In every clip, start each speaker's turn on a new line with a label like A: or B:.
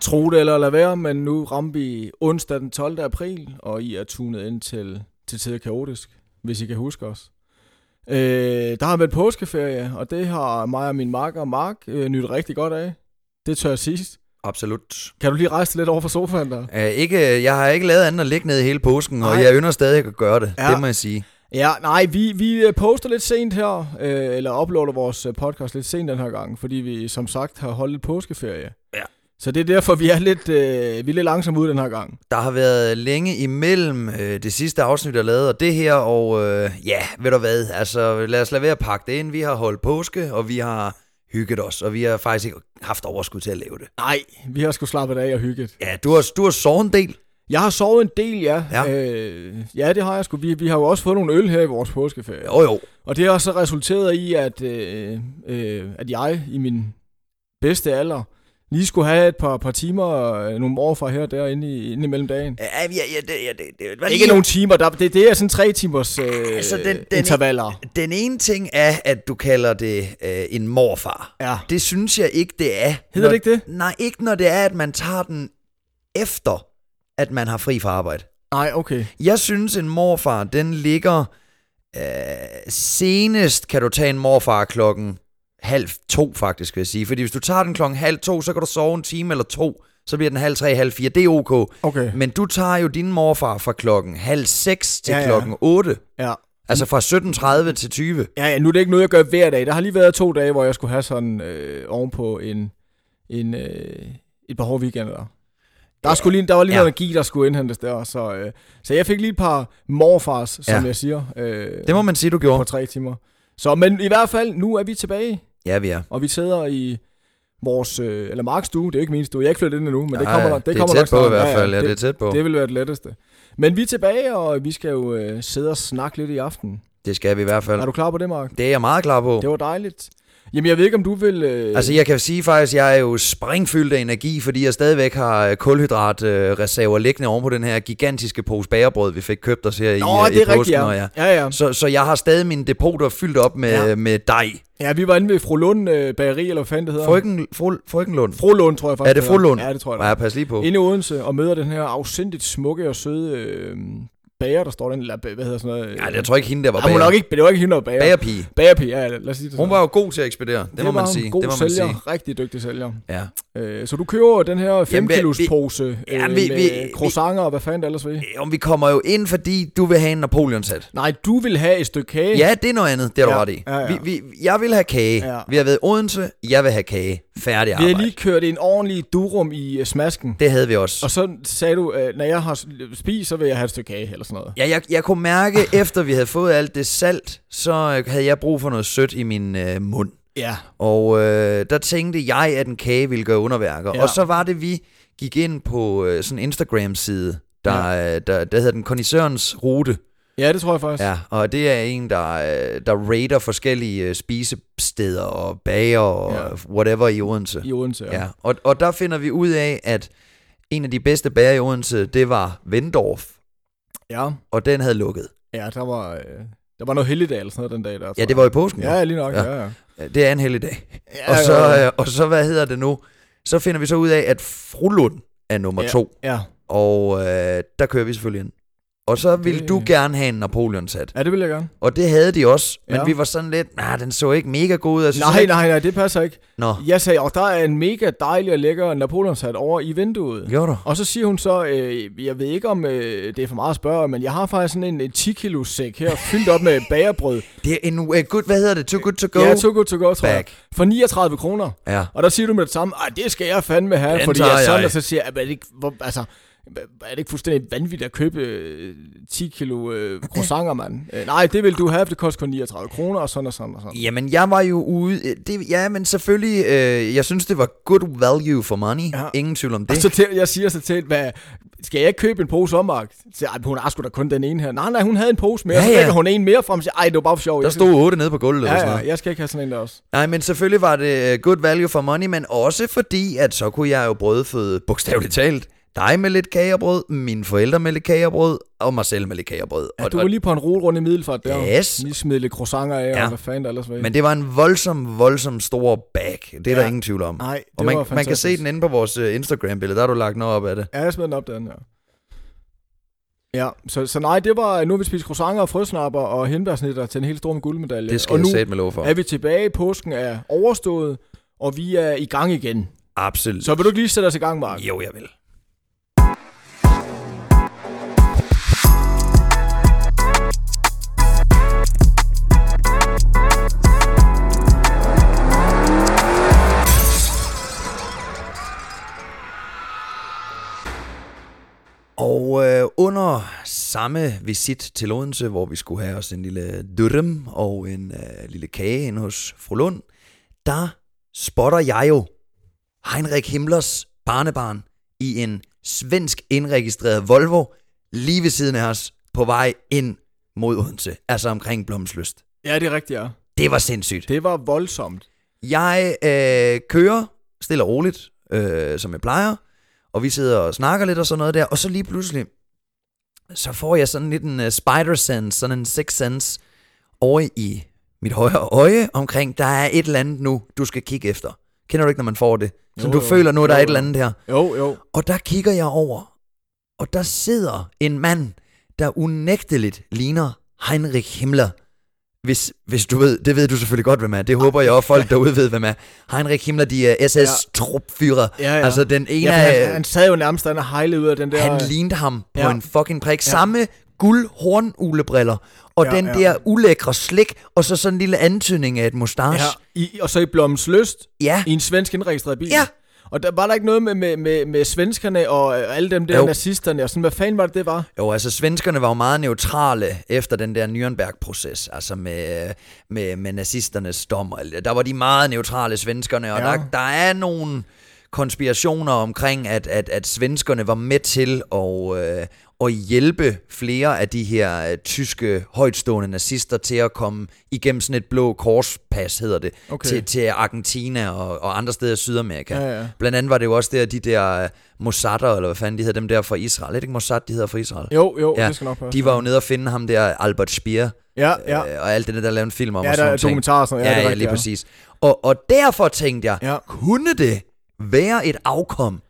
A: Tro det eller lad være, men nu ramte vi onsdag den 12. april, og I er tunet ind til, til Tider Kaotisk, hvis I kan huske os. Øh, der har været påskeferie, og det har mig og min makker Mark øh, nydt rigtig godt af. Det tør jeg sidst.
B: Absolut.
A: Kan du lige rejse dig lidt over for sofaen der?
B: Uh, ikke, jeg har ikke lavet andet end at ligge ned hele påsken, og
A: Nej.
B: jeg ynder stadig at gøre det.
A: Ja.
B: Ja. Det må jeg sige.
A: Ja, nej, vi, vi øh, poster lidt sent her, øh, eller uploader vores øh, podcast lidt sent den her gang, fordi vi som sagt har holdt lidt påskeferie.
B: Ja.
A: Så det er derfor, vi er lidt, øh, vi er lidt langsomme ude den her gang.
B: Der har været længe imellem øh, det sidste afsnit, jeg lavede, og det her, og øh, ja, ved du hvad, altså lad os lade være at pakke det ind. Vi har holdt påske, og vi har hygget os, og vi har faktisk ikke haft overskud til at lave det.
A: Nej, vi har sgu slappet af og hygget.
B: Ja, du har, du har sovet en del.
A: Jeg har sovet en del, ja.
B: Ja.
A: øh, ja det har jeg sgu. Vi, vi har jo også fået nogle øl her i vores påskeferie.
B: Jo jo,
A: Og det har så resulteret i, at, øh, øh, at jeg i min bedste alder lige skulle have et par, par timer, øh, nogle år fra her og der, inde, i, inde imellem dagen.
B: Ja, ja, ja, det, ja, det, det, hvad
A: Ikke
B: lige-
A: nogen timer, der, det, det er sådan tre timers øh, altså, den, den, intervaller.
B: Den ene ting er, at du kalder det øh, en morfar.
A: Ja.
B: Det synes jeg ikke, det er.
A: Hedder
B: når,
A: det ikke det?
B: Nej, ikke når det er, at man tager den efter, at man har fri fra arbejde.
A: Nej, okay.
B: Jeg synes, en morfar, den ligger... Øh, senest kan du tage en morfar klokken halv to, faktisk, vil jeg sige. Fordi hvis du tager den klokken halv to, så kan du sove en time eller to. Så bliver den halv tre, halv fire. Det er ok.
A: Okay.
B: Men du tager jo din morfar fra klokken halv seks til
A: Ja,
B: ja,
A: ja.
B: ja. klokken otte.
A: Ja.
B: Altså fra 17.30 til 20.
A: Ja, ja, nu er det ikke noget, jeg gør hver dag. Der har lige været to dage, hvor jeg skulle have sådan øh, ovenpå en, en, øh, et par hårde weekender. Der, ja. skulle lige, der var lige
B: Ja.
A: noget energi, der skulle indhentes der. Så, øh, så jeg fik lige et par morfars, som
B: Ja.
A: jeg siger, øh,
B: Det må man sige, du
A: på
B: gjorde.
A: tre timer. Så, men i hvert fald, nu er vi tilbage,
B: Ja, vi er.
A: og vi sidder i vores, øh, eller Marks stue, det er jo ikke min stue, jeg er ikke flyttet ind endnu, men det
B: Ej,
A: kommer, nok- det
B: det er
A: kommer
B: tæt
A: nok
B: på
A: snart.
B: i hvert fald. Ja, det,
A: det,
B: er tæt på.
A: det vil være det letteste. Men vi er tilbage, og vi skal jo øh, sidde og snakke lidt i aften.
B: Det skal vi i hvert fald.
A: Er du klar på det, Mark?
B: Det er jeg meget klar på.
A: Det var dejligt. Jamen, jeg ved ikke, om du vil... Øh...
B: Altså, jeg kan sige faktisk, at jeg er jo springfyldt af energi, fordi jeg stadigvæk har øh, kulhydratreserver liggende oven på den her gigantiske pose bagerbrød, vi fik købt os her i,
A: Nå,
B: øh,
A: det
B: i
A: er rigtigt, ja.
B: og ja.
A: ja. ja.
B: Så, så jeg har stadig mine depoter fyldt op med,
A: Ja.
B: ja. med dej.
A: Ja, vi var inde ved Fru Lund øh, Bageri, eller hvad fanden det hedder.
B: Frøken, fru, frøkenlund.
A: Fru Lund, tror jeg faktisk.
B: Er det
A: hedder.
B: fru Lund?
A: Ja, det tror jeg.
B: Ja, pas lige på.
A: Inde i Odense, og møder den her afsindigt smukke og søde øh, bager, der står den, eller ba- hvad hedder sådan noget? øh,
B: Ja, jeg tror ikke hende, der var
A: Ej, hun var
B: bager.
A: nok ikke, det var ikke hende, der var bager. bager.
B: Bagerpige.
A: Bagerpige, ja, lad os sige det
B: Hun
A: sådan.
B: var jo god til at ekspedere. Det, det må
A: var
B: man
A: hun.
B: sige.
A: God
B: Det må man
A: sælger,
B: sige.
A: rigtig dygtig sælger.
B: Ja.
A: Øh, så du køber den her 5
B: vi-
A: kilos
B: vi-
A: pose øh,
B: Ja, vi-
A: med
B: vi-
A: croissanter og hvad fanden det ellers ved.
B: Øh, Om vi kommer jo ind, fordi du vil have en Napoleon-sat.
A: Nej, du vil have et stykke kage.
B: Ja, det er noget andet. Det er du
A: Ja,
B: ret i.
A: ja, ja.
B: Vi, vi, jeg vil have kage.
A: Ja.
B: Vi har været i Odense. Jeg vil have kage. Færdig
A: Vi
B: arbejde.
A: har lige kørt en ordentlig durum i øh, smasken.
B: Det havde vi også.
A: Og så sagde du, øh, når jeg har s- spist, så vil jeg have et stykke kage, eller sådan noget.
B: Ja, jeg, jeg kunne mærke, efter vi havde fået alt det salt, så øh, havde jeg brug for noget sødt i min øh, mund.
A: Ja.
B: Og øh, der tænkte jeg, at en kage ville gøre underværker.
A: Ja.
B: Ja. Og så var det, vi gik ind på øh, sådan en Instagram-side, der, ja. der, der hedder den Kondisørens Rute.
A: Ja, det tror jeg faktisk. Ja.
B: Ja, og det er en, der, øh, der rater forskellige øh, spisesteder og bager og
A: Ja.
B: ja. whatever i Odense.
A: I Odense. Ja.
B: Ja, og, og der finder vi ud af, at en af de bedste bager i Odense, det var Vendorf,
A: ja.
B: og den havde lukket.
A: Ja, der var, øh, der var noget helligdag eller sådan noget den dag der. tror
B: Ja, det
A: jeg.
B: var i påsken. jo.
A: Ja, lige nok. Ja,
B: Ja.
A: ja. ja.
B: Det er en heldig dag.
A: ja
B: Og
A: ja.
B: så, øh, og så, hvad hedder det nu? Så finder vi så ud af, at Frulund er nummer
A: Ja.
B: to,
A: ja.
B: og øh, der kører vi selvfølgelig ind. Og så ville
A: Det-
B: du gerne have en Napoleon-sat.
A: Ja, det vil jeg gerne.
B: Og det havde de også, men
A: Ja.
B: vi var sådan lidt, nej, nah, den så ikke mega god ud. Jeg synes
A: Nej,
B: ikke-
A: nej, nej, det passer ikke.
B: Nå,
A: Jeg sagde, og der er en mega dejlig og lækker Napoleonshat over i vinduet.
B: gjorde du?
A: Og så siger hun så, øh, jeg ved ikke om øh, det er for meget at spørge, men jeg har faktisk sådan en, en 10 kilo sæk her, fyldt op med bagerbrød.
B: Det er en, uh, good, hvad hedder det? Too good to go?
A: ja, too good to go, tror jeg.
B: back.
A: For 39 kroner.
B: Ja.
A: Og der siger du med det samme, at det skal jeg fandme have,
B: Den
A: fordi
B: tager
A: jeg er sådan,
B: jeg.
A: og så siger jeg, "Er det ikke, hvor, altså, er det ikke fuldstændig vanvittigt at købe øh, 10 kilo øh, croissanter, mand? Øh, nej, det vil du have, for det koster kun 39 kroner, og sådan og sådan og sådan.
B: Jamen, jeg var jo ude... øh, Det, ja, men selvfølgelig... Øh, jeg synes, det var good value for money.
A: Ja.
B: Ja. Ingen tvivl om
A: Og
B: det.
A: så til, jeg siger så til, hende, hvad, skal jeg ikke købe en pose ommark? Så siger jeg, "Ej, hun har sgu da kun den ene her. Nej, nej, hun havde en pose mere, ja,
B: Ja,
A: ja. så
B: ja.
A: lægger hun en mere frem, og siger, ej, det var bare for sjov.
B: Der
A: jeg skal-
B: stod otte nede på gulvet. eller sådan
A: ja,
B: noget.
A: ja, jeg skal ikke have sådan en der også.
B: Nej, men selvfølgelig var det øh, good value for money, men også fordi, at så kunne jeg jo brødføde, bogstaveligt talt, dig med lidt kagerbrød, mine forældre med lidt kagerbrød, og mig selv med lidt kagerbrød.
A: Ja,
B: og,
A: du var lige på en rulle rundt i Middelfart der.
B: Yes.
A: Lige smide lidt croissanter af, ja.
B: Ja.
A: og hvad fanden der ellers var i.
B: og, men det var en voldsom, voldsom stor bag. Det er ja.
A: Ja.
B: der ingen tvivl om.
A: Nej, det
B: og man,
A: var
B: man kan se
A: fantastisk.
B: den inde på vores øh, Instagram-billede, der har du lagt noget op af det.
A: Ja, jeg smed den op derinde, ja. Ja, så, så nej, det var, nu har vi spist croissanter og frøsnapper og hindbærsnitter til en helt stor guldmedalje.
B: Det skal
A: og
B: jeg
A: nu
B: sætte med lov for.
A: er vi tilbage, påsken er overstået, og vi er i gang igen.
B: Absolut.
A: Så vil du ikke lige sætte os i gang, Mark?
B: Jo, jeg vil. Og øh, under samme visit til Odense, hvor vi skulle have os en lille dyrrem og en øh, lille kage inde hos fru Lund, der spotter jeg jo Heinrich Himmlers barnebarn i en svensk indregistreret Volvo lige ved siden af os på vej ind mod Odense, altså omkring Blomsløst.
A: Ja, det er rigtigt, ja.
B: Det var sindssygt.
A: Det var voldsomt.
B: Jeg øh, kører stille og roligt, øh, som jeg plejer, og vi sidder og snakker lidt og sådan noget der, og så lige pludselig, så får jeg sådan lidt en uh, spider sense, sådan en sixth sense, over i mit højre øje omkring, der er et eller andet nu, du skal kigge efter. Kender du ikke, når man får det? Så
A: Jo,
B: du
A: jo.
B: føler nu, der er
A: Jo,
B: et eller
A: jo.
B: andet her.
A: Jo, jo.
B: Og der kigger jeg over, og der sidder en mand, der unægteligt ligner Heinrich Himmler. Hvis, hvis du ved, det ved du selvfølgelig godt, hvem er. Det håber jeg også, folk derude ved, hvem er. Heinrich Himmler, de er SS-trupfyrer.
A: Ja, ja.
B: Altså den
A: ja,
B: ene af...
A: han, han sad jo nærmest derinde og hejlede ud af den der...
B: Han lignede ham på
A: Ja.
B: en fucking prik. Samme guld hornulebriller, og
A: Ja,
B: den
A: ja.
B: der ulækre slik, og så sådan en lille antydning af et mustache.
A: ja, i, og så i Blommens Lyst,
B: Ja.
A: i en svensk indregistreret bil.
B: Ja.
A: Og der var der ikke noget med, med, med, med svenskerne og øh, alle dem der
B: Jo.
A: nazisterne, og sådan, hvad fanden var det, det var?
B: Jo, altså svenskerne var jo meget neutrale efter den der Nürnberg-proces, altså med, med, med nazisternes dom. og alt det. Der var de meget neutrale svenskerne, og
A: Ja.
B: ja. der, der er nogle konspirationer omkring, at, at, at svenskerne var med til at, øh, at hjælpe flere af de her øh, tyske højtstående nazister til at komme igennem sådan et blå korspas, hedder det,
A: Okay.
B: til, til Argentina og, og andre steder i Sydamerika.
A: Ja, ja.
B: Blandt andet var det jo også der, de der øh, Mossadder, eller hvad fanden de hedder, dem der fra Israel. Er det ikke Mossad, de hedder fra Israel?
A: Jo, jo,
B: Ja,
A: det skal nok passe.
B: De var jo nede og finde ham der, Albert Speer,
A: ja, ja.
B: ja. øh, og alt det der, der lavede en film om.
A: Ja,
B: og
A: der
B: sådan
A: er
B: nogle ting.
A: dokumentarer og sådan noget.
B: Ja,
A: Ja,
B: ja,
A: det er
B: ja
A: rigtigt,
B: lige
A: ja.
B: præst. Og, og derfor tænkte jeg,
A: Ja.
B: ja. kunne det være et afkom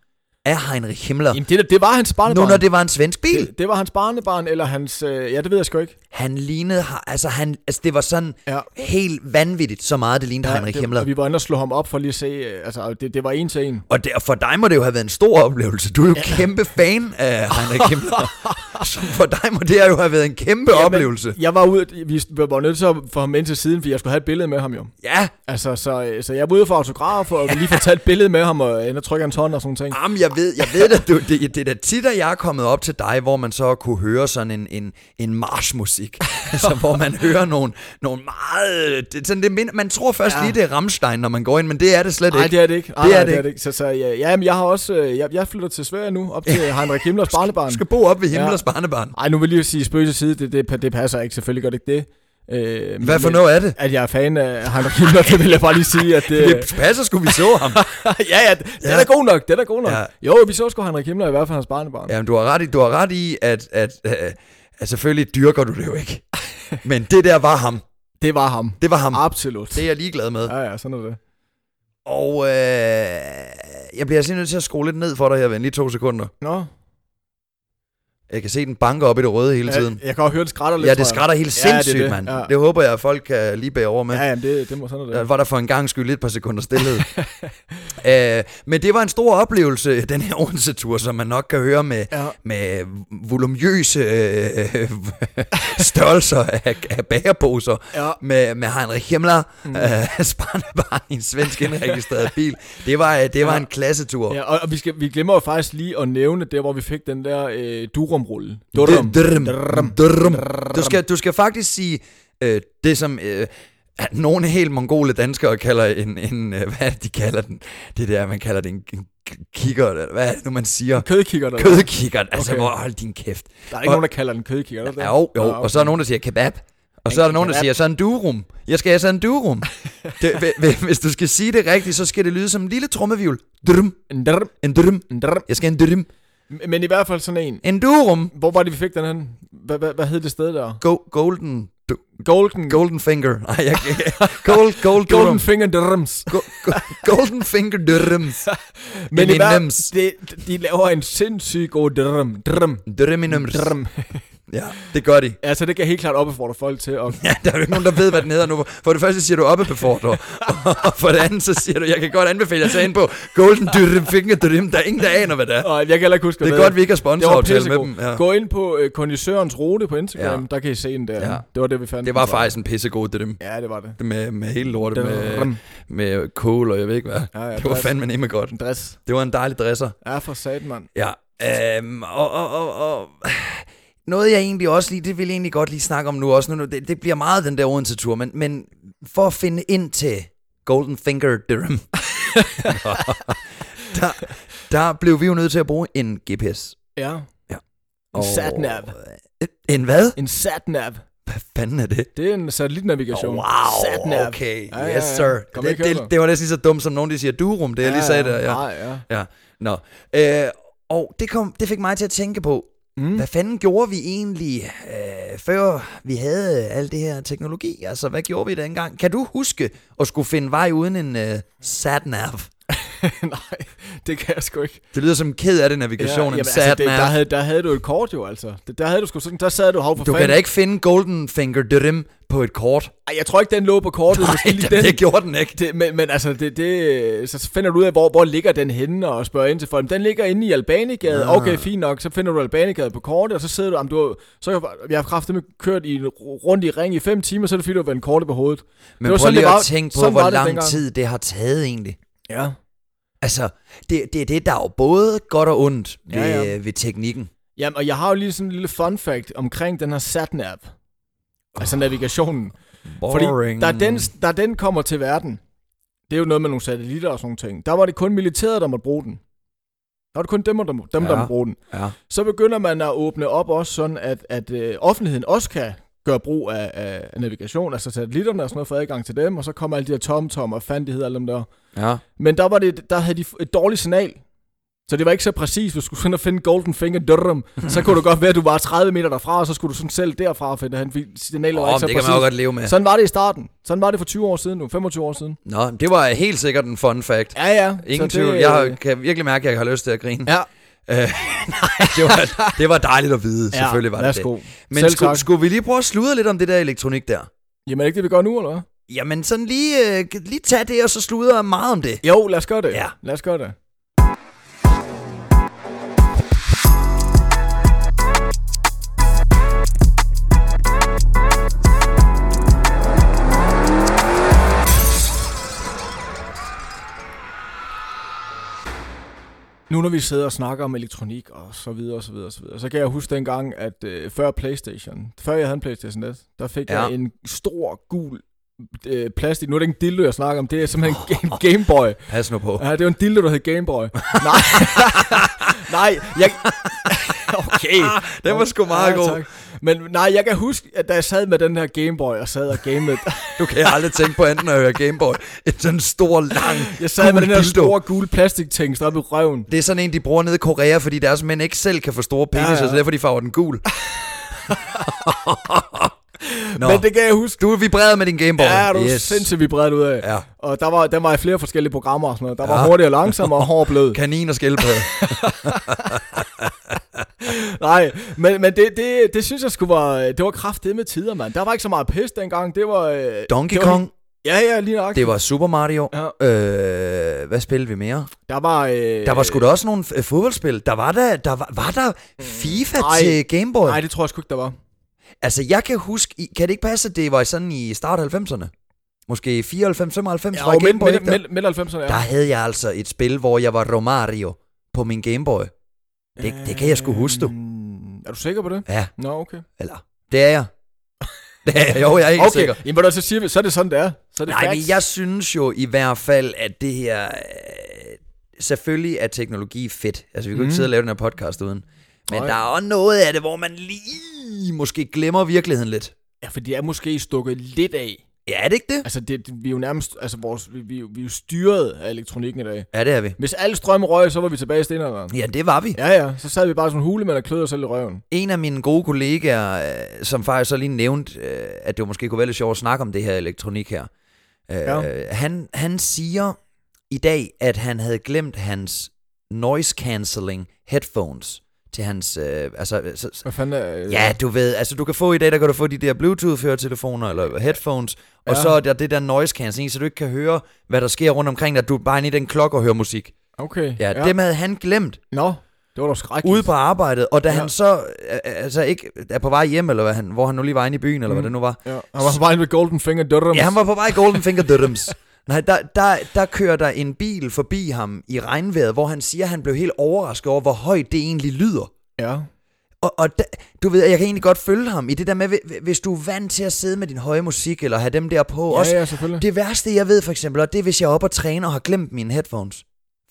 B: af Heinrich Himmler,
A: Jamen, det, der- det var hans barnebarn.
B: nu når det var en svensk bil?
A: det, det var hans barnebarn, eller hans... Øh, ja, det ved jeg sgu ikke.
B: Han lignede, har- altså, han, altså det var sådan
A: Ja.
B: ja. helt vanvittigt, så meget det lignede ja, Heinrich
A: det,
B: Himmler.
A: og Vi var inde og slå ham op for lige at se... Øh, altså, det, det var en til en.
B: Og der, for dig må det jo have været en stor oplevelse. Du er jo ja. kæmpe fan af Heinrich Himmler. så for dig må det jo have været en kæmpe ja, oplevelse.
A: Men jeg var ude... Vi var nødt til at få ham ind til siden, fordi jeg skulle have et billede med ham jo.
B: Ja,
A: Altså, så, øh, så jeg var ude for autograf, og lige få taget et billede med ham, og ind og trykke hans hånd og sådan ting.
B: Jamen, jeg ved, jeg ved at du, det, det er da tit, at jeg er kommet op til dig, hvor man så kunne høre sådan en, en, en marchmusik. altså, hvor man hører nogle, nogle meget... Det, sådan, det mind, man tror først
A: Ja.
B: ja. lige, det er Rammstein, når man går ind, men det er det slet
A: Nej,
B: ikke.
A: det er det ikke. Ej,
B: Ah, Det er
A: nej,
B: det
A: det er det ikke. Så, så ja, ja, men jeg har også... øh, Jeg, jeg flytter til Sverige nu, op til Heinrich Himmlers barnebarn.
B: Du skal bo op ved Himmlers
A: Ja.
B: ja. barnebarn.
A: Ej, nu vil jeg lige sige spøg til side, det, det, det passer ikke, selvfølgelig gør det ikke det. Øh,
B: Hvad for
A: men-
B: noget er det?
A: At jeg er fan af Heinrich Himmler, det vil jeg bare lige sige, at det...
B: Det passer sgu, vi så ham.
A: ja, ja, det ja. er da god nok, det er da god nok. Ja.
B: Ja.
A: Jo, vi så sgu Henrik Himmler, i hvert fald hans barnebarn. Ja.
B: Jamen, du har ret i, du har ret i at, at, at, at selvfølgelig dyrker du det jo ikke. Men det der var ham.
A: Det var ham.
B: Det var ham.
A: Absolut.
B: Det er jeg ligeglad med.
A: Ah. Ja, ja, sådan er det.
B: Og øh, jeg bliver simpelthen nødt til at skrue lidt ned for dig her, ven. Lige to sekunder.
A: Nå,
B: Jeg kan se, den banker op i det røde hele tiden.
A: jeg, jeg kan også høre, det skrætter lidt,
B: Ja,
A: tror
B: det
A: jeg.
B: skrætter helt
A: Ja, det er
B: sindssygt,
A: det.
B: mand.
A: Ja.
B: Det håber jeg, at folk kan lige bære over med.
A: Ja, jamen, det, det må sådan er det.
B: Der var der for en gang skyld lidt par sekunder stillhed. øh, men det var en stor oplevelse, den her Odense-tur, som man nok kan høre med,
A: Ja.
B: med volumøse øh, størrelser af, af bagerposer.
A: Ja.
B: Med, med Heinrich Himmler, mm. øh, barnebarn i en svensk indregistreret bil. Det var, øh, det var
A: Ja.
B: en klassetur.
A: Ja, og, og vi, skal, vi glemmer jo faktisk lige at nævne der, hvor vi fik den der øh, durumrulle.
B: Drum. Drum.
A: Drum.
B: Drum. Du skal, du skal faktisk sige øh, det, som øh, at nogle helt mongole danskere kalder en... en øh, hvad er det, de kalder den? Det der, man kalder det en, en kigger. eller Hvad er det nu, man siger?
A: Kødkigger, der
B: Kødkikkert. Altså,
A: Okay.
B: hvor, hold din kæft.
A: Der er ikke
B: Og-
A: nogen, der kalder den kødkigger, er der det?
B: Ja, jo, jo.
A: Nå,
B: Og så er der nogen, der siger kebab. Og så er der nogen, der
A: ah, kebab.
B: siger, så en durum. Jeg skal have sådan en durum. det, hvi- hvi- hvis du skal sige det rigtigt, så skal det lyde som en lille trommevivl. Drum.
A: En drm,
B: En drum.
A: en drm.
B: Jeg skal have en drum.
A: Men- Men i hvert fald sådan en.
B: Endurum.
A: Hvor var det, vi fik den hen? Hvad, hvad, hvad hed det sted der?
B: Go, golden, du,
A: Golden,
B: golden Finger. Nej, jeg kan Gold, gold,
A: golden
B: golden,
A: Finger Drums.
B: go, go, golden Finger Dørms.
A: Men i hvert
B: Eminems.
A: fald, de laver en sindssygt god drum, drum,
B: Dørminums.
A: drum.
B: Ja, det gør de.
A: Altså, det kan helt klart opfordre folk til at
B: Ja, der er jo ikke nogen, der ved, hvad den hedder nu. For det første siger du oppebefordrer, og for det andet så siger du, jeg kan godt anbefale jer at tage ind på Golden Dyrrim Finger Dyrrim. Der er ingen, der aner, hvad det er.
A: Og jeg kan heller ikke huske,
B: Det
A: hvad
B: er godt, vi ikke har
A: Det var
B: sponsoraftale med
A: pissegod.
B: dem. Ja.
A: Gå ind på øh, kondisørens rute på Instagram,
B: Ja.
A: ja. der kan I se den der.
B: Ja.
A: Ja. Det var det, vi fandt.
B: Det var
A: den fra.
B: faktisk en pissegod Dyrrim.
A: Ja, det var det.
B: Med, med hele lortet, med,
A: Drrrm.
B: med kål og jeg ved ikke hvad.
A: Ja, ja,
B: Det var
A: dress.
B: fandme nemme godt.
A: En dress.
B: Det var en dejlig dresser.
A: Ja, for satan, mand.
B: Ja, øhm, og, og, og, og noget jeg egentlig også lige, det vil jeg egentlig godt lige snakke om nu også, nu, det, det bliver meget den der Odense-tur, men, men for at finde ind til Golden Finger Durham, der, der blev vi jo nødt til at bruge en GPS.
A: Ja. En satnav.
B: En hvad?
A: En satnav.
B: Hvad fanden er det?
A: Det er en satellitnavigation.
B: Oh, wow,
A: Satnav.
B: okay,
A: Ja, ja,
B: yes
A: ja.
B: sir.
A: Kom
B: Det,
A: ikke
B: det,
A: heller.
B: det var næsten lige så dumt, som nogen de siger durum, det jeg lige sagde der. Ja.
A: Nej, ja.
B: Nå. Øh, og det, kom, det fik mig til at tænke på,
A: Mm.
B: Hvad fanden gjorde vi egentlig, øh, før vi havde al det her teknologi? Altså, hvad gjorde vi dengang? Kan du huske at skulle finde vej uden en øh, sat-nav?
A: Nej, det kan jeg sgu ikke.
B: Det lyder som ked af det navigation, ja, en
A: altså, det, der,
B: sat-nav.
A: havde, der havde du et kort jo, altså. Det, der havde du sgu sådan, der sad du hav for
B: Du kan da ikke finde Golden Finger Drim på et kort.
A: Ej, jeg tror ikke, den lå på kortet.
B: Nej,
A: Måske lige
B: det,
A: den.
B: det gjorde den ikke.
A: Det, men, men altså, det, det, så finder du ud af, hvor, hvor ligger den henne, og spørger ind til folk. "Men Den ligger inde i Albanegade.
B: Ah.
A: Ah. Okay, fint nok. Så finder du Albanegade på kortet, og så sidder du... Jamen, du har- så har jeg- jeg har kraftigt kørt i, en ru- rundt i ring i fem timer, så er det fordi, du har været en korte på hovedet.
B: Men
A: det var
B: prøv
A: sådan,
B: lige
A: det
B: at
A: var-
B: tænke på,
A: sådan var
B: hvor
A: det
B: lang
A: dengang.
B: tid det har taget egentlig.
A: Ja.
B: Altså, det, det er det, der er jo både godt og ondt ved,
A: Ja,
B: ja,
A: ja.
B: ved teknikken.
A: Jamen, og jeg har jo lige sådan en lille fun fact omkring den her SAT-app.
B: Ah.
A: Altså navigationen. Fordi
B: Boring.
A: da den, da den kommer til verden, det er jo noget med nogle satellitter og sådan nogle ting, der var det kun militæret, der måtte bruge den. Der var det kun dem, der, dem,
B: Ja.
A: der måtte bruge den.
B: Ja.
A: så begynder man at åbne op også sådan, at, at øh, offentligheden også kan gøre brug af, af, af navigation, altså satellitterne og sådan noget, få adgang til dem, og så kommer alle de her TomTom og fandigheder og alle dem der.
B: ja.
A: Men der, var det, der havde de f- et dårligt signal, så det var ikke så præcis. Hvis du skulle sådan at finde Golden Finger Durham, så kunne det godt være, at du var 30 meter derfra, og så skulle du sådan selv derfra finde hen, fordi signalet var
B: Åh,
A: ikke så
B: men det kan
A: altså præcis.
B: man jo godt leve med.
A: Sådan var det i starten. Sådan var det for 20 år siden nu, 25 år siden.
B: Nå, det var helt sikkert en fun fact.
A: Ja, ja.
B: Ingen
A: Så det- øh,
B: tvivl. Jeg har- kan virkelig mærke, at jeg har lyst til at grine.
A: Ja.
B: Øh, nej, det var, det var dejligt at vide.
A: Ja,
B: Selvfølgelig var det det.
A: værsgo.
B: Men
A: Selv
B: skulle,
A: tak.
B: skulle vi lige prøve at sludre lidt om det der elektronik der?
A: Jamen er det ikke det, vi gør nu, eller hvad?
B: Jamen sådan lige, øh, lige tage det, og så sludre meget om det.
A: Jo, lad os gøre det.
B: Ja.
A: Lad os gøre det. Nu når vi sidder og snakker om elektronik og så videre og så videre og så videre, så kan jeg huske dengang, at øh, før Playstation, før jeg havde en Playstation net, der fik
B: Ja.
A: ja. jeg en stor gul øh, plastik, nu er det ikke en dildo, jeg snakker om, det er simpelthen en Ga- Game Boy.
B: Pas nu på.
A: Ja, det var en dildo, der hed Game Boy. Nej, nej, jeg... Okay.
B: Den var sgu meget god.
A: tak. Men nej, jeg kan huske, at da jeg sad med den her Game Boy og sad og gamede,
B: Du kan aldrig tænke på enten at høre Gameboy. En sådan stor, lang
A: jeg sad med
B: gul
A: den her
B: dildo.
A: store gule plastikting stoppet i røven.
B: Det er sådan en, de bruger nede i Korea, fordi deres mænd ikke selv kan få store peniser, ja,
A: Ja,
B: ja.
A: ja.
B: så derfor de farver den gul. Nå,
A: Men det kan jeg huske.
B: du vibrerede med din Gameboy.
A: Ja, du yes. sindssygt vibreret ud af.
B: Ja.
A: Og der var, der var i flere forskellige programmer og sådan noget. Der var
B: Ja.
A: ja. hurtig og langsom og hård og blød.
B: Kanin og skildpadde.
A: Nej, men, men det, det, det synes jeg skulle var, øh, det var kraftet med tider, mand. Der var ikke så meget pis dengang. Det var... øh,
B: Donkey
A: det var-
B: Kong.
A: Ja, ja, lige nok.
B: Det var Super Mario.
A: Ja.
B: Øh, hvad spillede vi mere?
A: Der var... Øh,
B: Der var sgu da også nogle f- fodboldspil. Der var der, der, var, var der FIFA
A: nej.
B: til Gameboy.
A: Nej, det tror jeg sgu ikke, der var.
B: Altså, jeg kan huske... I- Kan det ikke passe, at det var sådan i start af 90'erne? Måske 94, 95
A: Ja,
B: var
A: og midt,
B: Gameboy ikke
A: midt,
B: der?
A: midt, midt 90'erne, ja.
B: Der havde jeg altså et spil, hvor jeg var Romario på min Gameboy. Det, det kan jeg
A: Øh.
B: sgu huske, du.
A: Øhm, Er du sikker på det?
B: Ja,
A: Nå, okay.
B: eller... Det er jeg. Det er jeg. Jo, jeg er helt
A: Okay,
B: sikker.
A: sikker. jamen ved du hvad, så siger vi, så er det sådan, det er. Så er det
B: Nej,
A: facts.
B: men jeg synes jo i hvert fald, at det her... Øh, selvfølgelig er teknologi fedt. Altså, vi kunne mm.
A: Mm.
B: ikke sidde og lave den her podcast uden. Men
A: Nej.
B: der er også noget af det, hvor man lige måske glemmer virkeligheden lidt.
A: Ja, for de er måske stukket lidt af
B: Ja, er det ikke det?
A: Altså, det, det- vi er jo nærmest, altså vores, vi, vi, er jo- vi er jo styret af elektronikken i dag.
B: Ja, det er vi.
A: Hvis alle strømme røg, så var vi tilbage i stenalderen.
B: Ja, det var vi.
A: Ja, ja, så sad vi bare som hulemænd og kløede os selv i røven.
B: En af mine gode kollegaer, øh, som faktisk så lige nævnte, øh, at det jo måske kunne være lidt sjovt at snakke om det her elektronik her. Øh,
A: Ja.
B: han, han siger i dag, at han havde glemt hans noise cancelling headphones til hans... Øh, altså, så, så-
A: Hvad fanden er... øh,
B: ja, du ved, altså du kan få i dag, der kan du få de der Bluetooth-høretelefoner eller headphones, og
A: Ja.
B: så er der det der noise cancelling, så du ikke kan høre, hvad der sker rundt omkring dig. Du er bare inde i den klokke og hører musik.
A: Okay.
B: Ja, ja, dem havde han glemt
A: Nå, det var da skrækkeligt.
B: ude på arbejdet, og da
A: Ja.
B: ja. han så øh, altså ikke er på vej hjem, eller hvad han, hvor han nu lige var inde i byen, eller mm. hvad
A: Mm.
B: det nu var.
A: Ja, han var på vej med Golden Finger Dørrums.
B: Ja, han var på vej i Golden Finger Dødums. Nej, der, der, der kører der en bil forbi ham i regnvejret, hvor han siger, at han blev helt overrasket over, hvor højt det egentlig lyder.
A: Ja.
B: Og, og da, du ved, jeg kan egentlig godt følge ham i det der med, hvi- hvis du er vant til at sidde med din høje musik, eller have dem der på.
A: Ja,
B: også,
A: ja, selvfølgelig.
B: Det værste, jeg ved for eksempel, og det er, hvis jeg er oppe og træner og har glemt mine headphones.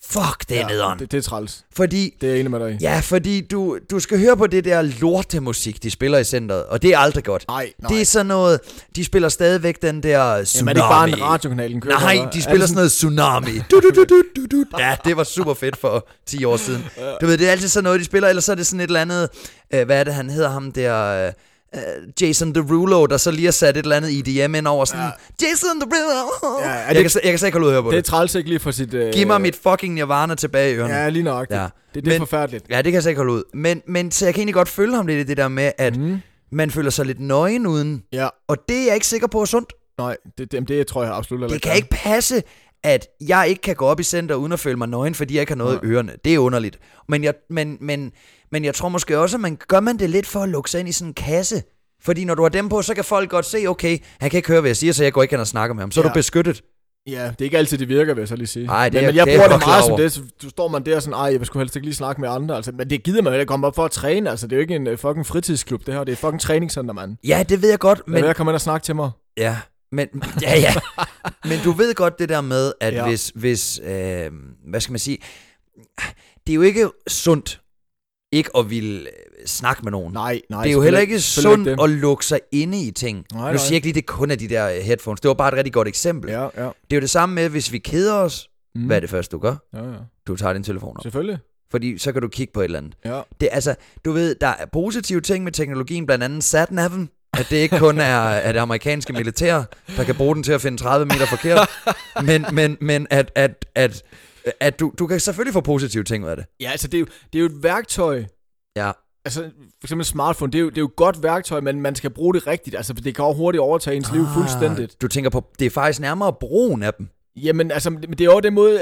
B: Fuck, det er ja, nederen. Det...
A: Det, det er træls.
B: Fordi
A: Det er jeg enig med dig i.
B: Ja, fordi du, du skal høre på det der lortemusik, de spiller i centret, og det er aldrig godt.
A: Nej, nej.
B: Det er sådan noget, de spiller stadigvæk den der
A: Jamen,
B: tsunami.
A: er det ikke bare en radiokanal, den kører?
B: Nej,
A: eller?
B: de
A: Er
B: spiller
A: det
B: sådan noget tsunami. Du, du, du, du, du, du. Ja, det var super fedt for 10 år siden. Du ved, det er altid sådan noget, de spiller, eller så er det sådan et eller andet, øh, hvad er det, han hedder ham der... Øh, øh, Jason Derulo, der så lige har sat et eller andet EDM ind over sådan, ja. Jason Derulo!
A: Ja, er
B: Ja,
A: det
B: jeg,
A: ikke-
B: kan, sl- jeg kan slet ikke holde ud at høre på
A: Det
B: det.
A: er træls ikke lige for sit... Øh...
B: Giv mig mit fucking Nirvana tilbage i ørerne.
A: Ja, lige nøjagtigt.
B: Ja.
A: Ja. Det, det er
B: Men-
A: forfærdeligt.
B: Ja, det kan jeg så ikke holde ud. Men, men så jeg kan egentlig godt følge ham lidt i det der med, at mm. man føler sig lidt nøgen uden.
A: Ja,
B: Og det er jeg ikke sikker på er sundt.
A: nej, det, det, det tror jeg absolut heller
B: Det kan ikke passe, at jeg ikke kan gå op i center uden at føle mig nøgen, fordi jeg ikke har noget i ørerne. Det er underligt. Men jeg, men, men, men jeg tror måske også, at man gør man det lidt for at lukke sig ind i sådan en kasse. Fordi når du har dem på, så kan folk godt se, okay, han kan ikke høre, hvad jeg siger, så jeg går ikke hen og snakker med ham. Så er
A: Ja.
B: du beskyttet.
A: Ja, det er ikke altid, det virker, vil jeg så lige sige.
B: Nej, det
A: men,
B: er-
A: men jeg
B: det er
A: bruger
B: jeg
A: det
B: godt
A: meget
B: klar
A: som
B: over.
A: det, så du står man der sådan, ej, jeg skulle helst ikke lige snakke med andre. Altså, men det gider man jo ikke komme op for at træne. Altså, det er jo ikke en øh, fucking fritidsklub, det her. Det er fucking træningscenter, mand.
B: Ja, det ved jeg godt,
A: Men...
B: men...
A: Lad være at komme ind og snakke til mig.
B: Ja, men, ja, ja. men du ved godt det der med, at
A: Ja.
B: ja. hvis, hvis øh, hvad skal man sige, det er jo ikke sundt ikke at ville øh, snakke med nogen.
A: Nej, nej.
B: det er jo heller ikke
A: selvfølgelig
B: sundt
A: ikke
B: at lukke sig inde i ting.
A: Nej,
B: Nej,
A: nej.
B: nu siger jeg ikke lige, det kun er de der øh, headphones. Det var bare et rigtig godt eksempel. Ja.
A: Ja, ja.
B: Det er jo det samme med, hvis vi keder os.
A: Mm.
B: Mm. Hvad er det første, du gør?
A: Ja, ja.
B: Du tager din telefon op.
A: Selvfølgelig.
B: Fordi så kan du kigge på et eller andet.
A: Ja.
B: Det, er altså, du ved, der er positive ting med teknologien, blandt andet satnaven. At det ikke kun er, er det amerikanske militær, der kan bruge den til at finde 30 meter forkert. Men, men, men at, at, at, at du, du kan selvfølgelig få positive ting ud af det.
A: Ja, altså, det er jo, det er jo et værktøj.
B: Ja.
A: Altså, for eksempel smartphone, det er, jo, det er jo et godt værktøj, men man skal bruge det rigtigt. Altså, for det kan jo hurtigt overtage ens ah. liv fuldstændigt.
B: Du tænker på, det er faktisk nærmere brugen af dem.
A: Jamen, altså, men det er jo den måde, øh,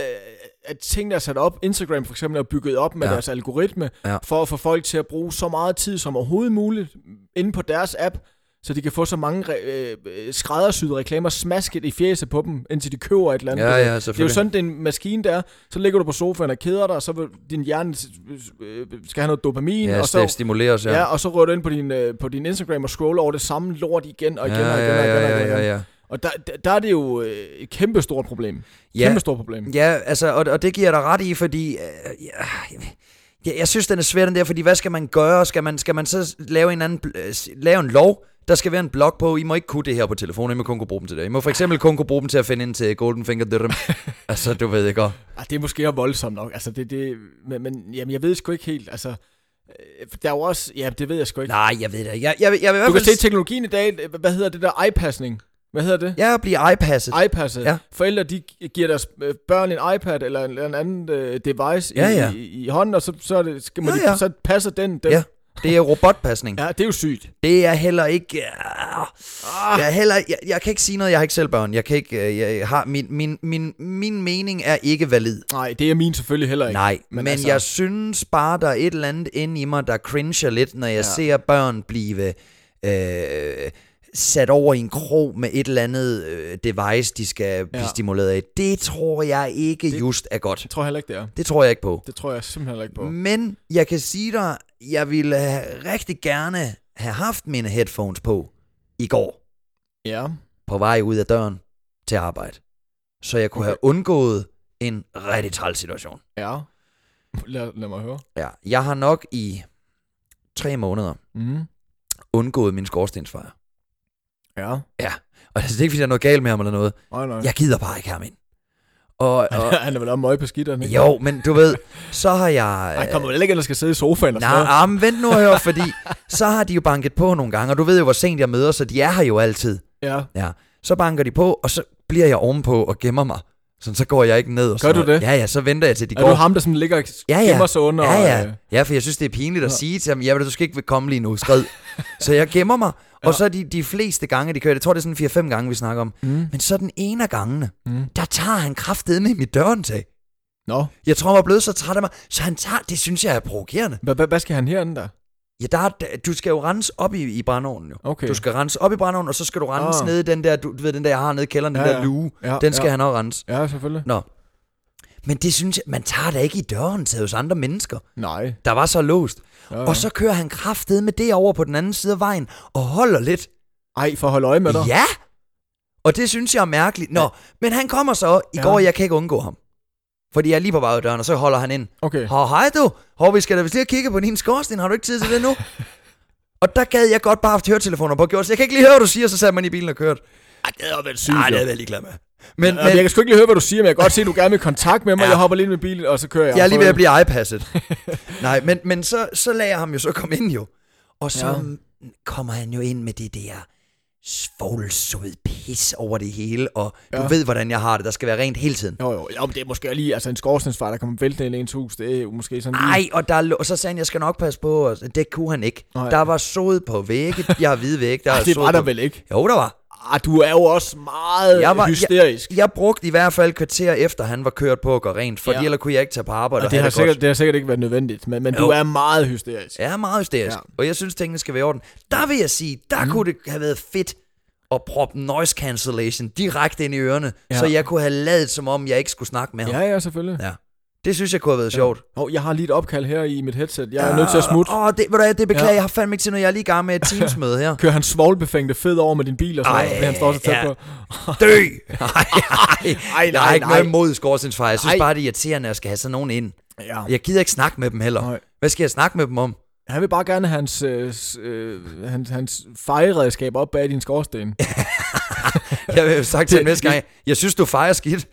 A: at ting, der er sat op, Instagram for eksempel er bygget op med ja.
B: Ja.
A: deres algoritme, ja.
B: Ja.
A: for at få folk til at bruge så meget tid som overhovedet muligt inde på deres app, så de kan få så mange re- øh, øh, skræddersyede reklamer smasket i fjeset på dem, indtil de køber et eller andet.
B: Ja, ja,
A: det er jo
B: selvfølgelig.
A: sådan, det er en maskine, der er. Så ligger du på sofaen og keder dig, og så vil din hjerne øh, skal have noget dopamin,
B: Ja,
A: og
B: så, det
A: så...
B: stimuleres, ja.
A: Ja, og så rører du ind på din, øh, på din Instagram og scroller over det samme lort igen og igen og igen og igen. og
B: ja,
A: igen.
B: ja, ja, ja.
A: Og der, der, der er det jo øh, et kæmpe stort problem.
B: Ja.
A: Kæmpe stort problem.
B: Ja, altså, og, og det giver jeg dig ret i, fordi... Øh, ja, jeg, jeg synes, den er svær, den der, fordi hvad skal man gøre? Skal man, skal man så lave en, anden, bl- øh, s- lave en lov? Der skal være en blog på, I må ikke kunne det her på telefonen, I må kun kunne bruge dem til det. I må for eksempel kun kunne bruge dem til at finde ind til Golden Finger Dødrum. altså, du ved ikke godt.
A: Ah, det er måske også voldsomt nok. Altså, det, det, men, men jamen, jeg ved sgu ikke helt. Altså, øh, der er jo også... Ja, det ved jeg sgu ikke.
B: Nej, jeg ved det ikke. Jeg, jeg, jeg, jeg, jeg
A: du kan se teknologien i dag. øh, Hvad hedder det der iPassning? Hvad hedder det?
B: Jeg bliver iPasset.
A: iPasset.
B: Ja.
A: Forældre, de gi- giver deres øh, børn en iPad eller en, eller en anden øh, device
B: Ja,
A: i,
B: ja.
A: I, i, hånden, og så, så, er det, skal, må
B: Ja,
A: de,
B: ja.
A: så passer den. den.
B: Ja, det er robotpasning.
A: ja. det er jo sygt.
B: Det er heller ikke... Uh,
A: Ah.
B: jeg, er heller, jeg, jeg kan ikke sige noget, jeg har ikke selv børn. Jeg kan ikke... øh, Jeg har, min, min, min, min mening er ikke valid.
A: Nej, det er min selvfølgelig heller ikke.
B: Nej,
A: Men
B: men, men
A: altså-
B: altså... jeg synes bare, der er et eller andet inde i mig, der cringer lidt, når jeg ja. ser børn blive øh, sat over i en krog med et eller andet øh, device, de skal blive
A: Ja.
B: stimuleret af. Det tror jeg ikke det... just er godt.
A: Det tror jeg heller ikke, det er.
B: Det tror jeg ikke på.
A: Det tror jeg simpelthen heller ikke på.
B: Men jeg kan sige dig, jeg ville have- rigtig gerne have haft mine headphones på i går
A: Ja.
B: på vej ud af døren til arbejde. Så jeg kunne
A: Okay.
B: okay. have undgået en rigtig træls situation.
A: Ja. Lad, lad mig høre.
B: Ja, jeg har nok i tre måneder
A: Mm.
B: Mm-hmm. undgået min skorstensfejr.
A: Ja.
B: Og det er ikke, fordi der er noget galt med ham eller noget.
A: Nej, nej.
B: Jeg gider bare ikke have ham ind. Og, og
A: han er vel om møg på skitterne, ikke?
B: jo, men du ved, så har jeg... øh,
A: Han kommer vel ikke, at der skal sidde i sofaen og sådan
B: Nej,
A: noget.
B: ah, men vent nu og hør, fordi så har de jo banket på nogle gange, og du ved jo, hvor sent jeg møder, så de er her jo altid.
A: Ja.
B: Så banker de på, og så bliver jeg ovenpå og gemmer mig. Sådan, så går jeg ikke ned. Og
A: Gør
B: sådan
A: du
B: noget.
A: det?
B: Ja, ja, så venter jeg til de
A: Er
B: går.
A: du ham, der sådan ligger og
B: Ja, ja.
A: gemmer sig under?
B: ja,
A: og, øh,
B: ja. ja, for jeg synes, det er pinligt at
A: Nå.
B: sige til ham, ja, men du skal ikke komme lige nu, skrid. så jeg gemmer mig,
A: Ja.
B: og så de, de fleste gange, de kører, jeg tror, det er sådan 4-5 gange, vi snakker om,
A: Mm.
B: men så den ene af gangene,
A: Mm.
B: der tager han kraftet med mit dørentag.
A: Nå,
B: Jeg tror, han var blevet så træt af mig, så han tager, det synes jeg er provokerende.
A: Hva- hva- hvad skal han herinde der?
B: Ja, der er, du skal jo rense op i, i brændeovnen jo.
A: Okay.
B: Du skal rense op i brændeovnen, og så skal du rense
A: Ah.
B: ned i den der, du, du ved, den der, jeg har nede i kælderen, den
A: Ja,
B: der
A: ja.
B: luge.
A: ja,
B: Den skal
A: ja.
B: han også rense.
A: Ja, selvfølgelig.
B: Nå. Men det synes jeg, man tager da ikke i døren til hos andre mennesker.
A: Nej.
B: Der var så låst.
A: Ja,
B: Og så kører han kraftet med det over på den anden side af vejen, og holder lidt.
A: Ej, for at holde øje med dig.
B: Ja! Og det synes jeg er mærkeligt. Nå, men han kommer så i
A: Ja.
B: går, jeg kan ikke undgå ham. Fordi jeg er lige på vej ud af døren, og så holder han ind.
A: Okay.
B: Hov, hej du. Hov, vi skal da vist lige have kigget på din skorsten. Har du ikke tid til det nu? og der gad jeg godt bare have haft høretelefoner på gjort, så jeg kan ikke lige høre, hvad du siger, så satte man i bilen og kørte. Ej, det er vel sygt. Nej, det er vel ligeglad med. Men,
A: Men... Jeg
B: men
A: kan sgu ikke lige høre, hvad du siger, men jeg kan godt se, at du gerne vil i kontakt med mig.
B: Ja.
A: Ja. Jeg hopper lige ind med bilen, og så kører jeg.
B: jeg er lige ved at
A: Prøv.
B: blive iPasset. Nej, men, men så, så lader jeg ham jo så komme ind jo. Og så ja. kommer han jo ind med det der svoglsød pis over det hele, og du
A: Ja.
B: ved, hvordan jeg har det. Der skal være rent hele tiden.
A: Jo, jo, jo, men det er måske lige, altså en skorstensfejl, der kommer væltende ind i ens hus, det er jo måske sådan lige...
B: Ej, og, der, lå- og så sagde han, jeg skal nok passe på, og det kunne han ikke.
A: Nej.
B: Der var sod på vægge, jeg har hvide vægge, der
A: Ej,
B: er
A: det
B: sod
A: var
B: på
A: der vel ikke?
B: Jo, der var.
A: Ah, du er jo også meget
B: Jeg var-
A: hysterisk.
B: Jeg brugte i hvert fald et kvarter efter, han var kørt på at gå rent, for ja.
A: Ja.
B: ellers kunne jeg ikke tage på arbejde og,
A: og det har,
B: det
A: sikkert,
B: godt.
A: det har sikkert ikke været nødvendigt, men, men du
B: Jo.
A: er meget hysterisk.
B: Jeg er meget hysterisk, ja.
A: Ja.
B: og jeg synes, tingene skal være i orden. Der vil jeg sige, der mm. kunne det have været fedt at proppe noise cancellation direkte ind i ørerne, ja.
A: Ja.
B: så jeg kunne have lavet som om, jeg ikke skulle snakke med ham.
A: Ja, ja, selvfølgelig.
B: Ja. Det synes jeg kunne have været ja. sjovt.
A: Og jeg har lige et opkald her i mit headset. Jeg er nødt til at smutte.
B: Åh, oh, det, ved du hvad, det beklager ja.
A: Ja.
B: jeg har fandme ikke til, når jeg er lige i gang med et Teams-møde her.
A: Kører han svoglbefængte fed over med din bil og sådan
B: Ej,
A: noget, fordi han står så tæt
B: ja.
A: på.
B: Dø! Nej, nej,
A: nej,
B: Jeg har ikke
A: nej.
B: noget imod skorstensfejl. Jeg synes
A: Nej.
B: bare, det er irriterende, at jeg skal have sådan nogen ind.
A: Ja.
B: Jeg gider ikke snakke med dem heller.
A: Nej.
B: Hvad skal jeg snakke med dem om?
A: Han vil bare gerne have hans, øh, s- øh, hans, hans fejredskab op bag din skorsten.
B: Jeg vil have sagt til
A: Det-
B: dem næste gang, jeg synes, du fejrer skidt.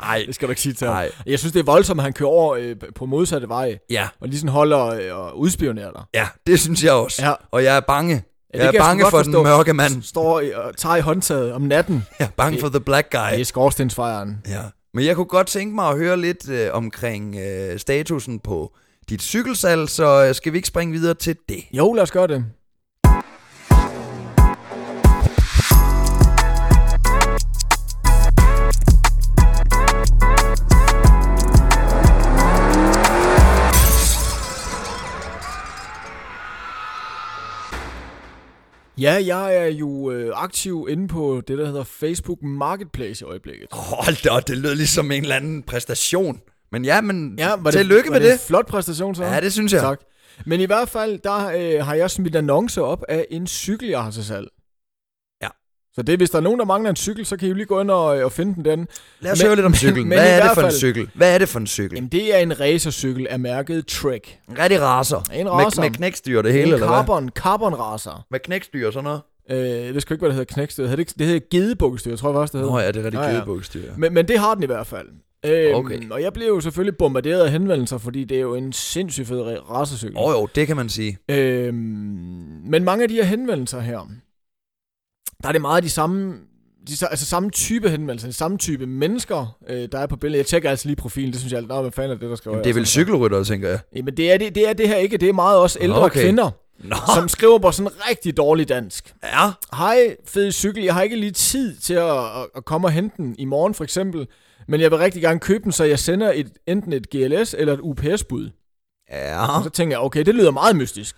B: Nej.
A: Det skal du ikke sige til ham.
B: Nej.
A: Jeg synes, det er voldsomt, at han kører over øh, på modsatte vej,
B: Ja,
A: og lige sådan holder øh, og udspionerer dig.
B: ja, det synes jeg også.
A: Ja.
B: Og jeg er bange.
A: Ja,
B: jeg er
A: kan sgu
B: bange
A: godt
B: for
A: forstå.
B: den mørke mand.
A: S- Står i, og tager i håndtaget om natten.
B: Jeg er bange for the black
A: Det
B: guy.
A: er skorstensfejeren.
B: Ja. Men jeg kunne godt tænke mig at høre lidt øh, omkring øh, statusen på dit cykelsalg, så øh, skal vi ikke springe videre til det?
A: Jo, lad os gøre det. Ja, jeg er jo øh, aktiv inde på det, der hedder Facebook Marketplace i øjeblikket.
B: Hold da, op, det lød ligesom en eller anden præstation. Men ja, men ja,
A: Ja, var det,
B: tillykke
A: var
B: med det.
A: en flot præstation, så.
B: Ja, det synes jeg.
A: Tak. Men i hvert fald, der øh, har jeg smidt annoncer op af en cykel, jeg har til salg.
B: Ja.
A: Så det, hvis der er nogen, der mangler en cykel, så kan I jo lige gå ind og, øh, og finde den den.
B: Lad os
A: Men-
B: høre lidt om
A: men-
B: cyklen.
A: men
B: Hvad
A: i
B: er det
A: hvert
B: for en
A: fald-
B: cykel? Hvad er det for en cykel?
A: Jamen, det er en racercykel af mærket Trek.
B: En rigtig raser.
A: En racer.
B: Med, med knækstyr det hele,
A: en
B: eller hvad?
A: carbon, carbon racer.
B: Med knækstyr og sådan noget?
A: Øh, jeg ved sgu ikke, hvad det hedder knækstyr. Hed Det, ikke- det hedder gedebukkestyr, tror jeg også, det hedder.
B: Nå ja, det er rigtig
A: Ja, ja.
B: gedebukstyr.
A: Men, men det har den i hvert fald. Øhm,
B: Okay.
A: Og jeg blev jo selvfølgelig bombarderet af henvendelser, fordi det er jo en sindssygt fed ra- racercykel.
B: Åh oh, jo, det kan man sige.
A: Øhm, men mange af de her henvendelser her, der er det meget de samme, de, sa- altså samme type henvendelser, de samme type mennesker, øh, der er på billedet. Jeg tjekker altså lige profilen, det synes jeg, nå, altså, hvad fanden er det, der skriver?
B: Jamen, det er vel cykelrytter, tænker jeg.
A: Jamen, det er det, det er det her ikke, det er meget også ældre
B: Okay.
A: okay. kvinder,
B: Nå,
A: som skriver på sådan rigtig dårlig dansk.
B: ja.
A: Hej, fed cykel, jeg har ikke lige tid til at, at- at komme og hente den i morgen for eksempel, men jeg vil rigtig gerne købe den, så jeg sender et, enten et GLS eller et UPS-bud.
B: Ja,
A: Og så tænker jeg, okay, det lyder meget mystisk.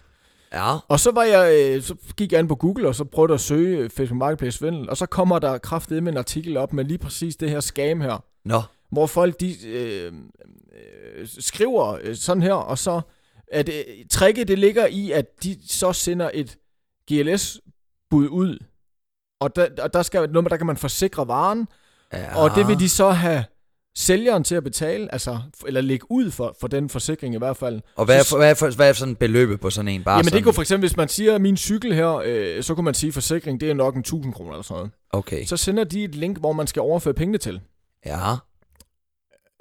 B: ja.
A: Og så var jeg, øh, så gik jeg ind på Google, og så prøvede at søge øh, Facebook Marketplace Svindel, og så kommer der kraftedet med en artikel op med lige præcis det her scam her,
B: Nå,
A: hvor folk de øh, øh, skriver øh, sådan her, og så at øh, tricket det ligger i, at de så sender et GLS-bud ud, og der, og der skal være et nummer, der kan man forsikre varen,
B: ja.
A: og det vil de så have sælgeren til at betale, altså, eller lægge ud for, for den forsikring i hvert fald.
B: Og hvad er,
A: Så-
B: for, hvad, er for, hvad er sådan beløbet på sådan en? Bare
A: Jamen det
B: sådan,
A: kunne for eksempel, hvis man siger, at min cykel her, øh, så kunne man sige, at forsikring, det er nok en 1000 kroner eller sådan noget.
B: Okay,
A: Så sender de et link, hvor man skal overføre pengene til.
B: ja.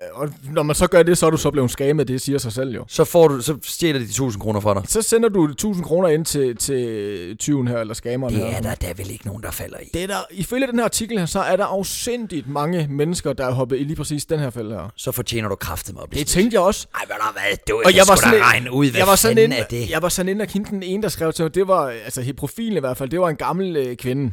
A: Øh, Og når man så gør det, så er du så blevet skamet, det siger sig selv jo.
B: Så, får du, så stjæler de 1000 kroner fra dig.
A: Så sender du 1000 kroner ind til, til tyven her, eller skameren her.
B: Det er der da vel ikke nogen, der falder i.
A: Det er der, ifølge den her artikel her, så er der afsindigt mange mennesker, der er hoppet i lige præcis den her fælde her.
B: Så fortjener du kraftet med at blive
A: Det
B: smidt.
A: tænkte jeg også.
B: Ej, hvad der hvad? Du,
A: Og jeg var,
B: sgu
A: sådan,
B: da regne ud, hvad
A: jeg var sådan
B: fanden
A: inde,
B: er det?
A: Jeg var sådan inde og kendte den ene, der skrev til mig, det var, altså i profilen i hvert fald, det var en gammel øh, kvinde.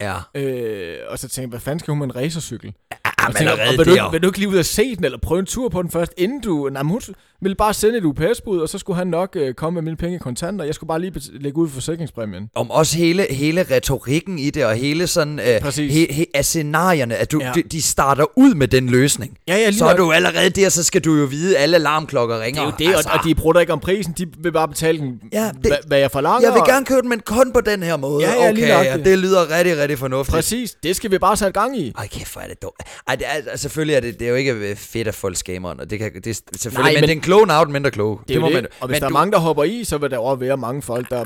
B: Ja.
A: Øh, og så tænkte jeg, hvad fanden skal hun med en racercykel?
B: Ah,
A: Og
B: men
A: tænker,
B: allerede
A: og vil, du, ikke-
B: der.
A: vil du ikke lige ud og se den, eller prøve en tur på den først, inden du... Nej, men hun ville bare sende et UPS-bud, og så skulle han nok øh, komme med mine penge i kontanter. Jeg skulle bare lige bet- lægge ud for forsikringspræmien.
B: Om også hele, hele retorikken i det, og hele sådan, øh,
A: Præcis.
B: he, he, af scenarierne, at du, ja.
A: Ja.
B: de, de starter ud med den løsning.
A: Ja, ja, lige
B: så er
A: nok.
B: du allerede der, så skal du jo vide, at alle alarmklokker
A: Det
B: ringer.
A: er jo det, altså. og, og de brutter ikke om prisen, de vil bare betale den,
B: Ja,
A: ja,
B: det-
A: det, hva, hvad jeg forlanger.
B: Jeg vil gerne købe den, men kun på den her måde.
A: Ja, ja, lige
B: okay,
A: nøjagtigt.
B: og det lyder rigtig, rigtig fornuftigt.
A: Præcis, det skal vi bare sætte gang i.
B: Ej, kæft, hvor er det dumt. Ej, det er, altså, selvfølgelig er det, det er jo ikke øh, fedt at folk skameren, og det, kan, det er selvfølgelig,
A: Nej,
B: men,
A: men-
B: det er en kloge navn, mindre kloge.
A: Det, det
B: må
A: må det.
B: man-
A: Man, og hvis
B: men
A: der
B: du,
A: er mange, der hopper i, så vil der også være mange folk, der...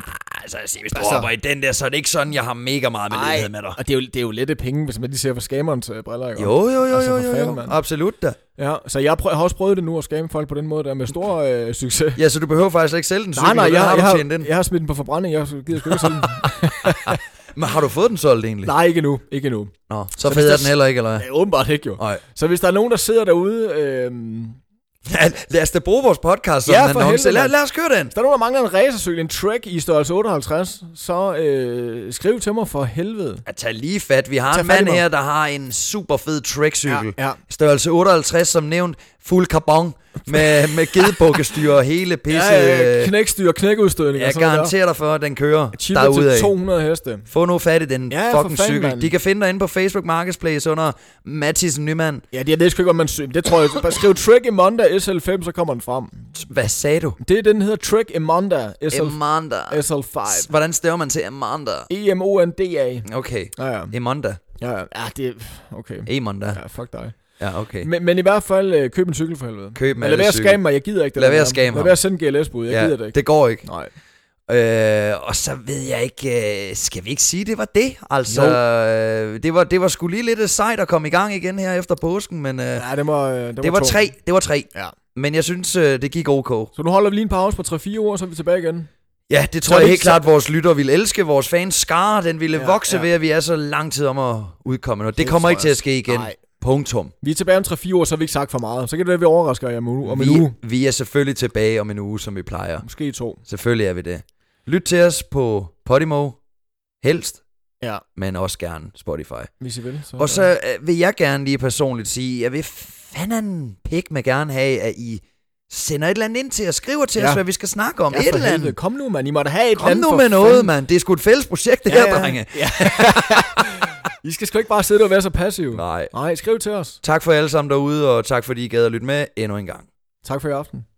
B: Altså, jeg siger, hvis du
A: Altså-
B: hopper i den der, så er det ikke sådan, jeg har mega meget med ledighed med dig.
A: og det er, jo, det er jo lette penge, hvis man lige ser på skamerens øh, briller. ikke?
B: Jo, jo, jo,
A: Altså,
B: jo,
A: for
B: jo,
A: fanden,
B: jo.
A: mand.
B: Absolut da.
A: Ja, så jeg, prøv, jeg har også prøvet det nu at skamme folk på den måde der med stor øh, succes.
B: Ja, så du behøver faktisk slet ikke sælge den
A: Nej,
B: cykel,
A: nej,
B: den
A: jeg,
B: har
A: jeg,
B: du
A: har,
B: tjent ind.
A: jeg har smidt den på forbrænding, jeg gider sgu ikke selv.
B: Men har du fået den solgt egentlig?
A: Nej, ikke nu, ikke nu.
B: Nå, så,
A: hvis
B: federe
A: der-
B: den heller ikke, eller hvad?
A: Ja, åbenbart ikke jo.
B: Nej.
A: Så hvis der er nogen, der sidder derude, øh,
B: Lad os da bruge vores podcast som
A: Ja,
B: en
A: for
B: annonce.
A: helvede,
B: Lad,
A: mand.
B: lad os køre den.
A: hvis der er nogen, der mangler en racercykel, en Trek i størrelse 58, så øh, skriv til mig for helvede.
B: At tage lige fat. Vi har
A: Tag
B: en
A: fat i
B: mand
A: mig.
B: her, der har en super fed trekcykel.
A: Ja, ja.
B: Størrelse 58, som nævnt. Fuld carbon med, med gedebukkestyr og hele pisse.
A: Ja, øh,
B: øh,
A: knækstyr, knækudstødning og
B: Jeg
A: sådan noget der.
B: garanterer dig for, at den kører
A: Chipper til
B: derudad.
A: 200 heste.
B: Få nu fat i den
A: Ja, for
B: fucking
A: fanden,
B: cykel.
A: mand.
B: De kan finde dig inde på Facebook Marketplace under Mathis Nyman.
A: Ja, det, jeg ved sgu ikke, om man søger. Det tror jeg. Bare skriv Trek Emonda SL5, så kommer den frem.
B: Hvad sagde du?
A: Det er den, der hedder Trek Emonda SL,
B: Amanda.
A: SL5.
B: Hvordan stæver man til Amanda?
A: E E-M-O-N-D-A.
B: Okay.
A: Ja, ja.
B: Amanda.
A: Ja, ja. ja det er... Okay.
B: Amanda.
A: Ja, fuck dig.
B: Ja, okay.
A: Men, men i hvert fald, øh, køb en cykel for helvede.
B: Køb en øh,
A: Eller lad være at
B: cykel.
A: skamme mig, jeg gider ikke det
B: Lad
A: der
B: være
A: med
B: at skamme
A: Lad
B: ham.
A: være at sende GLS-bud, jeg gider det ikke.
B: det går ikke.
A: Nej.
B: Øh, og så ved jeg ikke, øh, skal vi ikke sige, det var det? Altså, øh, det, var, det var sgu lige lidt øh, sejt at komme i gang igen her efter påsken, men øh, det,
A: Ja, det var, øh, det var,
B: var
A: tungt.
B: tre, det var tre.
A: Ja.
B: Men jeg synes, øh, det gik ok.
A: Så nu holder vi lige en pause på 3-4 uger, så er vi tilbage igen.
B: Ja, det
A: Så
B: tror
A: er
B: jeg
A: det
B: helt
A: ikke-
B: klart, vores lytter ville elske. Vores fans skare, den ville ja,
A: Ja,
B: vokse ja.
A: ja.
B: ved, at vi er så lang tid om at udkomme noget. Det, det
A: Det
B: kommer
A: tror
B: ikke til
A: jeg.
B: at ske igen. Nej.
A: Nej.
B: Punktum.
A: Vi er tilbage om 3-4 uger, så har vi ikke sagt for meget. Så kan det være, at vi overrasker jer om en uge. Om en
B: vi,
A: uge.
B: vi er selvfølgelig tilbage om en uge, som vi plejer.
A: Måske to.
B: Selvfølgelig er vi det. Lyt til os på Podimo, helst,
A: Ja,
B: men også gerne Spotify.
A: hvis I vil. Så,
B: Og så øh, vil jeg gerne lige personligt sige, jeg vil fanden pik med gerne have, at I sender et eller andet ind til os, skriver til ja.
A: Ja.
B: os, hvad vi skal snakke om.
A: ja,
B: Ja, et
A: for
B: eller andet.
A: helvede. Kom nu, mand. I må da have et eller
B: Kom
A: andet
B: nu
A: for
B: med noget,
A: fanden.
B: mand. Det er sgu et fælles projekt, det
A: Ja,
B: her,
A: ja.
B: drenge.
A: Ja. I skal sgu ikke bare sidde og være så passive.
B: Nej.
A: Nej, skriv til os.
B: Tak for alle sammen derude, og tak fordi I gad at lytte med endnu en gang.
A: Tak for i aften.